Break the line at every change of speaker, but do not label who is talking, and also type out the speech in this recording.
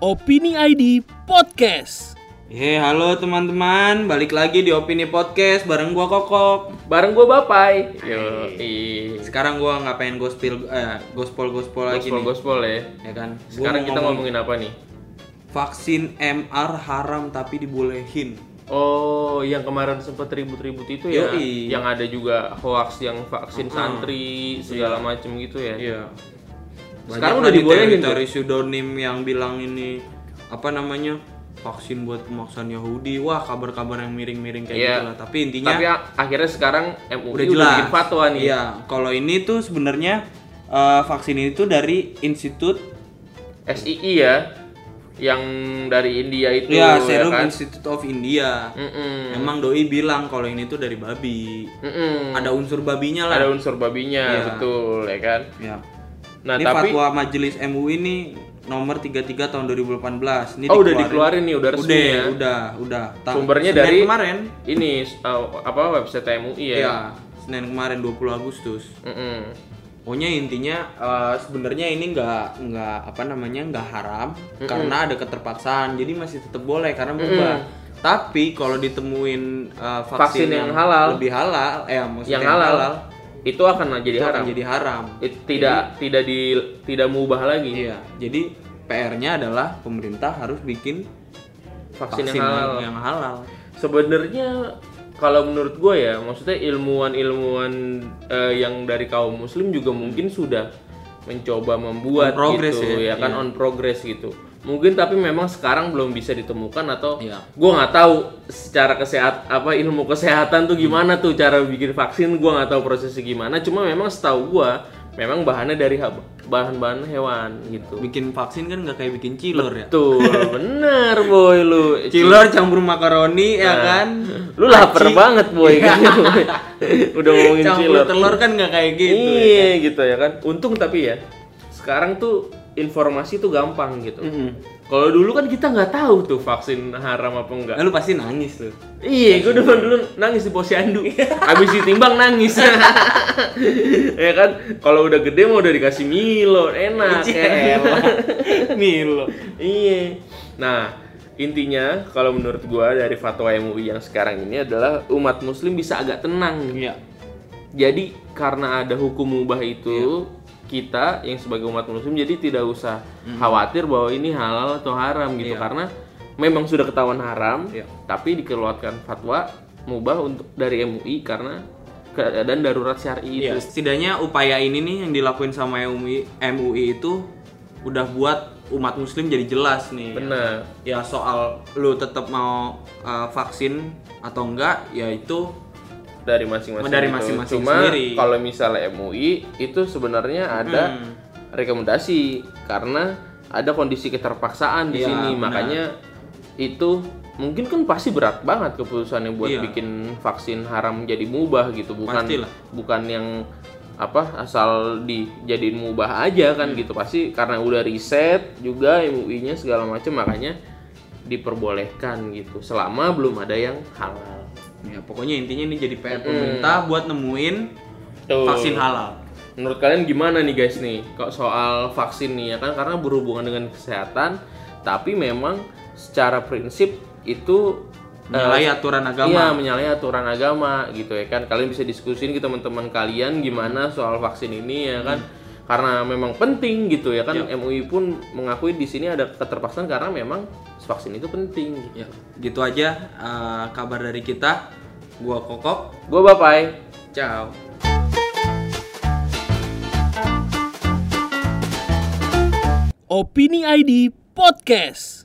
Opini ID Podcast.
Ye, Iya, halo teman-teman, balik lagi di Opini Podcast bareng gua Kokok.
Bareng gue Bapai.
Yo,
i.
Sekarang gua nggak pengen gospel eh gospol-gospol lagi
Gospel
nih.
gospel ya.
Ya kan. Gua
Sekarang
mau
kita
ngomong
ngomongin apa nih?
vaksin MR haram tapi dibolehin.
Oh, yang kemarin sempat ribut-ribut itu ya,
Yoi.
yang ada juga hoax yang vaksin santri segala macem gitu ya.
Iya.
Sekarang udah dibolehin tuh.
dari pseudonym yang bilang ini apa namanya? vaksin buat pemaksaan Yahudi. Wah, kabar-kabar yang miring-miring kayak
Iya.
gitu lah. Tapi intinya
Tapi a- akhirnya sekarang MUI
udah jelas
bikin fatwa nih.
Iya, kalau ini tuh sebenarnya eh, vaksin ini tuh dari Institut
SII ya, yang dari India itu
ya Serum
kan? Hmm.
Institute of India.
Mm-mm.
Emang doi bilang kalau ini tuh dari babi.
Mm-mm.
Ada unsur babinya lah.
Ada unsur babinya,
Iya.
betul ya kan?
Ya.
Nah,
ini
tapi
fatwa Majelis MUI ini nomor 33 tahun 2018. Ini
Oh, udah dikeluarin nih, udah resmi
udah,
ya?
Udah, udah. Ta-
Sumbernya
Senin
dari
kemarin.
ini uh, apa website MUI ya.
Iya, Senin kemarin 20 Agustus.
Mm-mm.
Pokoknya intinya eh, sebenarnya ini nggak nggak apa namanya nggak haram karena ada keterpaksaan jadi masih tetap boleh karena berubah. Tapi kalau ditemuin eh, vaksin,
Vaksin yang halal.
lebih halal, eh maksudnya
yang halal, itu akan jadi
itu
haram.
akan jadi haram.
It- tidak tidak di tidak mengubah lagi
Iya. Jadi PR-nya adalah pemerintah harus bikin
vaksin,
vaksin
yang halal.
yang halal.
Sebenarnya kalau menurut gue ya, maksudnya ilmuwan-ilmuwan eh, yang dari kaum muslim juga mungkin sudah mencoba membuat
On progress
gitu ya,
ya,
kan
iya.
on progress gitu. Mungkin tapi memang sekarang belum bisa ditemukan atau
Iya.
gue nggak tahu secara kesehat apa ilmu kesehatan tuh gimana tuh cara bikin vaksin gue nggak tahu prosesnya gimana. Cuma memang setahu gue memang bahannya dari hab- bahan-bahan hewan gitu.
Bikin vaksin kan nggak kayak bikin cilor ya.
Betul, bener boy lu.
Cilor campur makaroni ya
Nah.
kan.
Lu lapar
Aci.
banget boy kan. Udah ngomongin
Campur
cilor.
telur kan nggak kayak gitu. ya.
Iya gitu ya kan. Untung tapi ya. Sekarang tuh informasi tuh gampang gitu.
Mm-mm.
Kalau dulu kan kita nggak tahu tuh vaksin haram apa enggak.
Nah, lu pasti nangis tuh.
Iya, gue dulu dulu nangis di posyandu. Abis ditimbang nangis. ya kan, kalau udah gede mau udah dikasih Milo, enak. ya elah.
Milo.
Iya. Nah, intinya kalau menurut gua dari fatwa MUI yang sekarang ini adalah umat muslim bisa agak tenang.
Iya.
Jadi karena ada hukum mubah itu,
Iya.
kita yang sebagai umat muslim jadi tidak usah khawatir bahwa ini halal atau haram gitu
Iya.
karena memang sudah ketahuan haram,
Iya.
tapi dikeluarkan fatwa mubah untuk dari MUI karena keadaan darurat syar'i
Iya,
itu.
setidaknya upaya ini nih yang dilakuin sama MUI, MUI itu udah buat umat muslim jadi jelas nih.
Benar.
Ya soal lu tetap mau uh, vaksin atau enggak, ya itu
dari masing-masing
Dari
itu.
masing-masing
Cuma
sendiri.
kalau misalnya MUI itu sebenarnya ada
hmm.
rekomendasi karena ada kondisi keterpaksaan di
Iya,
sini
benar.
makanya itu mungkin kan pasti berat banget keputusan yang buat
Iya.
bikin vaksin haram jadi mubah gitu bukan
Pastilah.
bukan yang apa asal dijadiin mubah aja kan
Iya.
gitu pasti karena udah riset juga MUI-nya segala macam makanya diperbolehkan gitu selama belum ada yang halal
ya pokoknya intinya ini jadi PR pemerintah buat nemuin
Tuh.
vaksin halal.
Menurut kalian gimana nih guys nih kok soal vaksin nih ya kan karena berhubungan dengan kesehatan tapi memang secara prinsip itu eh,
Menyalahi aturan
Iya,
agama.
menyalahi aturan agama gitu ya kan. Kalian bisa diskusin ke teman-teman kalian gimana soal vaksin ini ya kan.
Hmm.
Karena memang penting gitu ya kan.
Iya.
MUI pun mengakui di sini ada keterpaksaan karena memang vaksin itu penting.
Ya, gitu aja uh, kabar dari kita. Gua Kokok.
Gue bapai.
Ciao.
Opini ID Podcast.